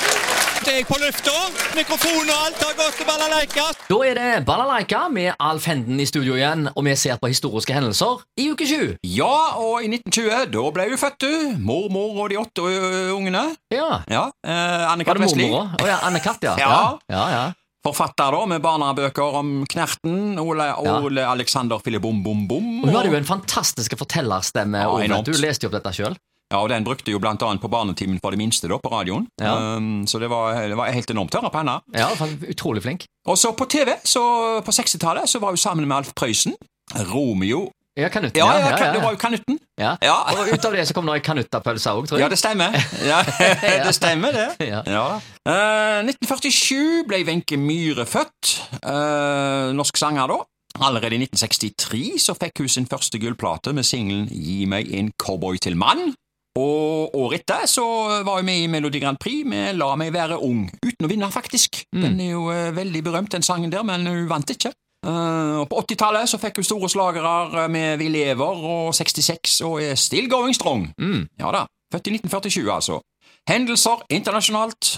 Snart er jeg på lufta. Mikrofon og alt har gått til balalaika. Da er det Balalaika med Alf Henden i studio igjen, og vi ser på historiske hendelser i uke sju. Ja, og i 1920, da ble hun født, du. Mormor og de åtte ø, ø, ungene. Ja. Ja, eh, Anne Var Katt det Vestli. mormor òg? Å ja, Anne-Kat., ja. Ja. ja, ja. Forfatter, da, med barnebøker om Knerten. Ole, Ja. Ole Alexander Filibom Bom Bom. Og hun hadde jo en fantastisk fortellerstemme. Ja, Ove. enormt. du leste jo opp dette sjøl. Ja, og den brukte jo blant annet på barnetimen for de minste, da, på radioen. Ja. Um, så det var, det var helt enormt å høre på henne. Ja, fan- utrolig flink. Og så på TV, så på 60-tallet, så var hun sammen med Alf Prøysen. Romeo Ja, Kanutten. Ja, ja, kan- det var jo Kanutten. Ja. Ja. Og ut av det så kom det ei kanuttapølse òg, tror Ja, jeg. det stemmer. Ja, det stemmer, det. Ja. Ja. Eh, 1947 ble Wenche Myhre født. Eh, norsk sanger, da. Allerede i 1963 så fikk hun sin første gullplate med singelen Gi meg en cowboy til mann. Og året etter så var hun med i Melodi Grand Prix med La meg være ung, uten å vinne, faktisk. Den er jo eh, veldig berømt, den sangen der, men hun vant ikke. Eh, og på 80-tallet så fikk hun store slagere eh, med Vi lever og 66 og er still going strong. Mm. Ja da. Født i 1947, altså. Hendelser internasjonalt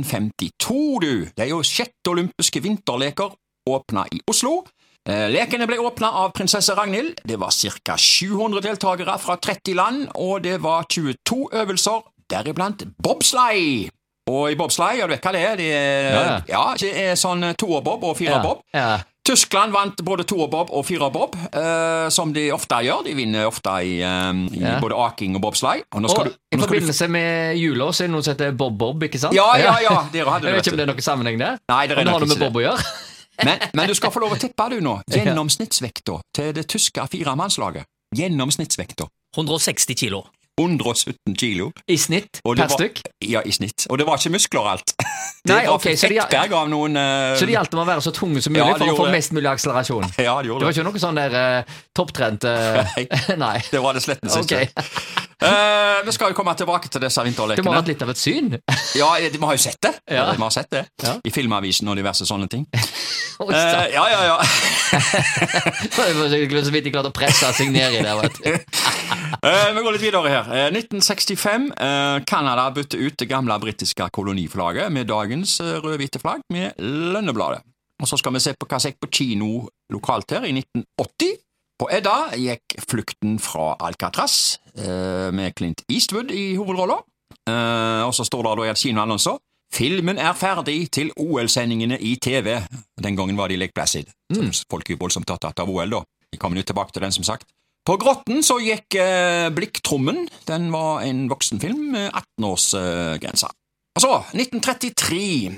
1952, du. Det er jo sjette olympiske vinterleker åpna i Oslo. Eh, Lekene ble åpna av prinsesse Ragnhild. Det var ca. 700 deltakere fra 30 land, og det var 22 øvelser, deriblant bobsleigh. Og i bobsleigh, ja, du vet hva det er? Det er, ja, Ja, ja. det er sånn toerbob og Ja. firerbob. Ja. Tyskland vant både toerbob og firerbob, eh, som de ofte gjør. De vinner ofte i, eh, i Ja. både aking og bobsleigh. Og nå Og skal du- i nå skal du- forbindelse med jula så er det noe som heter Bob Bob, ikke sant? Ja, ja, ja, dere hadde Jeg det, vet ikke om vet du. det er noen sammenheng der. Nei, det er om det nok har noe med ikke Bob å gjøre. Men, men du skal få lov å tippe, du, nå. Gjennomsnittsvekta til det tyske firemannslaget. Gjennomsnittsvekta. 160 kilo. 117 kilo I snitt Og det per var- stykk. ja, i snitt. Og det var ikke muskler og alt. Nei, det var ok, så de- Ekberg av noen eh, Så det gjaldt om å være så tunge som mulig Ja, det for å få gjorde det. mest mulig akselerasjon. Ja, de Det gjorde var det. ikke noe sånn der uh, topptrent eh, Nei. Det var det slettens Ok. ikke. Eh, vi skal jo komme tilbake til disse Det må ha vinterlekene. vært litt av et syn. Ja, de har jo sett det. Ja. De har sett det. Ja. I Filmavisen og diverse sånne ting. Oi, Eh, sant. ja, ja, ja. Det var så vidt de klarte å presse seg ned i det. Vet. du. Eh, vi går litt videre her. Eh, 1965. eh, Canada bytte ut det gamle britiske koloniflagget med dagens eh, rød-hvite flagg med lønnebladet. Og så skal vi se på hva som gikk på kino lokalt her i 1980. På Edda gikk Flukten fra Alcatraz eh, med Clint Eastwood i hovedrolla. Eh, og så står det da i kinoannonser Filmen er ferdig til OL-sendingene i TV. Den gangen var det i Lake Placid. Mm. Så Folk er jo voldsomt opptatt av OL, da. Vi kommer jo tilbake til den, som sagt. På Grotten så gikk eh, Blikktrommen. Den var en voksenfilm med 18-årsgrense. Og så, 1933.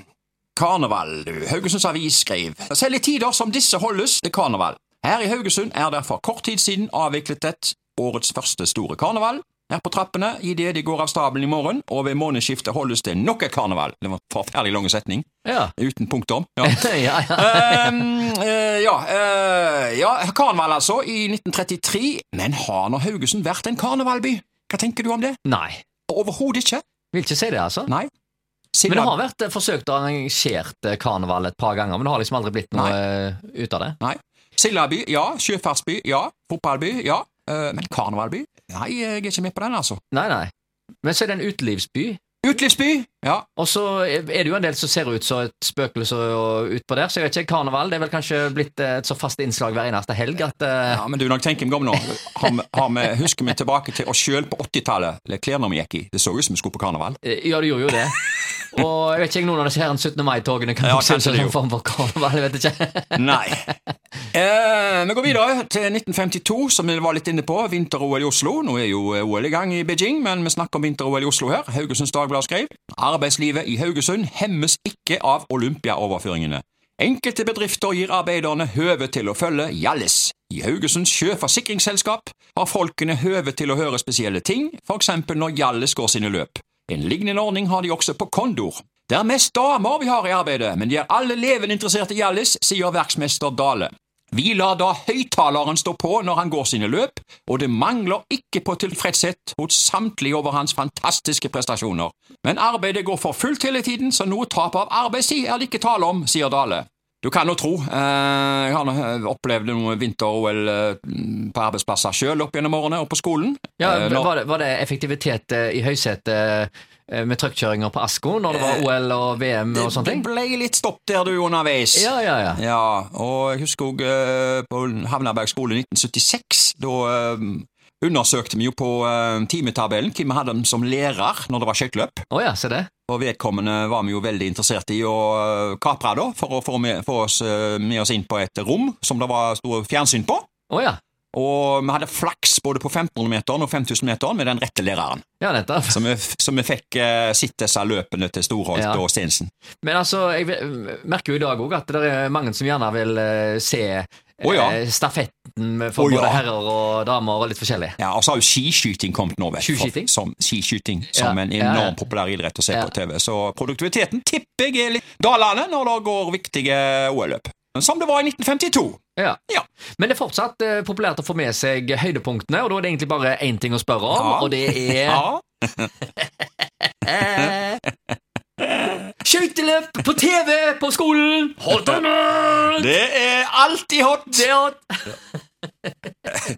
Karneval, du. Haugesunds Avis skrev Selv i tider som disse holdes det karneval. Her i Haugesund er det for kort tid siden avviklet et årets første store karneval. Her på trappene idet de går av stabelen i morgen, og ved månedsskiftet holdes det nok et karneval. Det var en forferdelig lang setning. Ja. Uten punktum. Ja. ja, ja. Ehm, eh, ja, eh, ja, karneval altså, i 1933. Men har nå Haugesund vært en karnevalby? Hva tenker du om det? Nei. Overhodet ikke. Vil ikke si det, altså. Nei. Men Siden det har vært eh, forsøkt arrangert eh, karneval et par ganger, men det har liksom aldri blitt noe eh, ut av det. Nei. Sildaby, ja. Sjøfartsby, ja. Fotballby, ja. Eh, men karnevalby? Nei, jeg er ikke med på den, altså. Nei, nei. Men så er det en utelivsby. Utelivsby, ja. Og så er det jo en del som ser ut som et spøkelse og utpå der, så jeg vet ikke, karneval det er vel kanskje blitt eh, et så fast innslag hver eneste helg at eh, Ja, men du, når jeg tenker meg om nå, har vi, har vi, husker vi tilbake til oss sjøl på 80-tallet, eller klærne vi gikk i. Det så ut som vi skulle på karneval. eh, Ja, det gjorde jo det. Og jeg vet ikke, jeg, noen av disse her 17. mai-togene kan Ja, ja, se ut kanskje som det en form for karneval, jeg vet ikke. Nei. Eh, vi går videre til 1952, som vi var litt inne på. Vinter-OL i Oslo. Nå er jo eh, OL i gang i Beijing, men vi snakker om vinter-OL i Oslo her. Haugesunds Dagblad skrev arbeidslivet i Haugesund hemmes ikke av olympiaoverføringene. Enkelte bedrifter gir arbeiderne høve til å følge Hjallis. I Haugesunds sjøforsikringsselskap har folkene høve til å høre spesielle ting, for eksempel når Hjallis går sine løp. En lignende ordning har de også på Kondor. Det er mest damer vi har i arbeidet, men de er alle levende interessert i Hjallis, sier verksmester Dale. Vi lar da høyttaleren stå på når han går sine løp, og det mangler ikke på tilfredshet hos samtlige over hans fantastiske prestasjoner. Men arbeidet går for fullt hele tiden, så noe tap av arbeidstid er det ikke tale om, sier Dale. Du kan jo tro. Eh, Jeg har nå, eh, opplevd noe vinter-OL eh, på arbeidsplasser sjøl opp gjennom årene, og på skolen. Ja, Eh, når- var, det, var det effektivitet eh, i høysetet eh, med trøkkjøringer på Asko når det var OL og VM og sånne Eh, ting? Det ble litt stopp der, du, underveis. Ja, ja, ja. Ja, og jeg husker òg eh, på Havnaberg skole i 1976. Da eh, undersøkte vi jo på eh, timetabellen hvem vi hadde som lærer når det var skøyteløp. Å ja, se det. Og vedkommende var vi jo veldig interessert i å eh, kapre, da, for å få, med, få oss eh, med oss inn på et rom som det var stor fjernsyn på. Å ja. Og vi hadde flaks både på 1500-meteren og 5000-meteren med den rette læreren. Ja, nettopp. Så vi, f- så vi fikk eh, sett disse løpene til Storholt Ja. og Stensen. Men altså, jeg ve- merker jo i dag òg at det er mange som gjerne vil eh, se eh, Å ja. stafetten med- for Å ja. både herrer og damer og litt forskjellig. Ja, og så har jo skiskyting kommet nå, vet du. Skiskyting? For- Som, skiskyting som Ja, en ja, ja. enormt populær idrett å se Ja. på TV. Så produktiviteten tipper jeg er litt dalende når det går viktige OL-løp. Som det var i 1952. Ja. Ja. Men det er fortsatt eh, populært å få med seg høydepunktene, og da er det egentlig bare én ting å spørre om, Ja. og det er Ja. eh, Skøyteløp på TV på skolen! Hot or not? Det er alltid hot! Det er hot.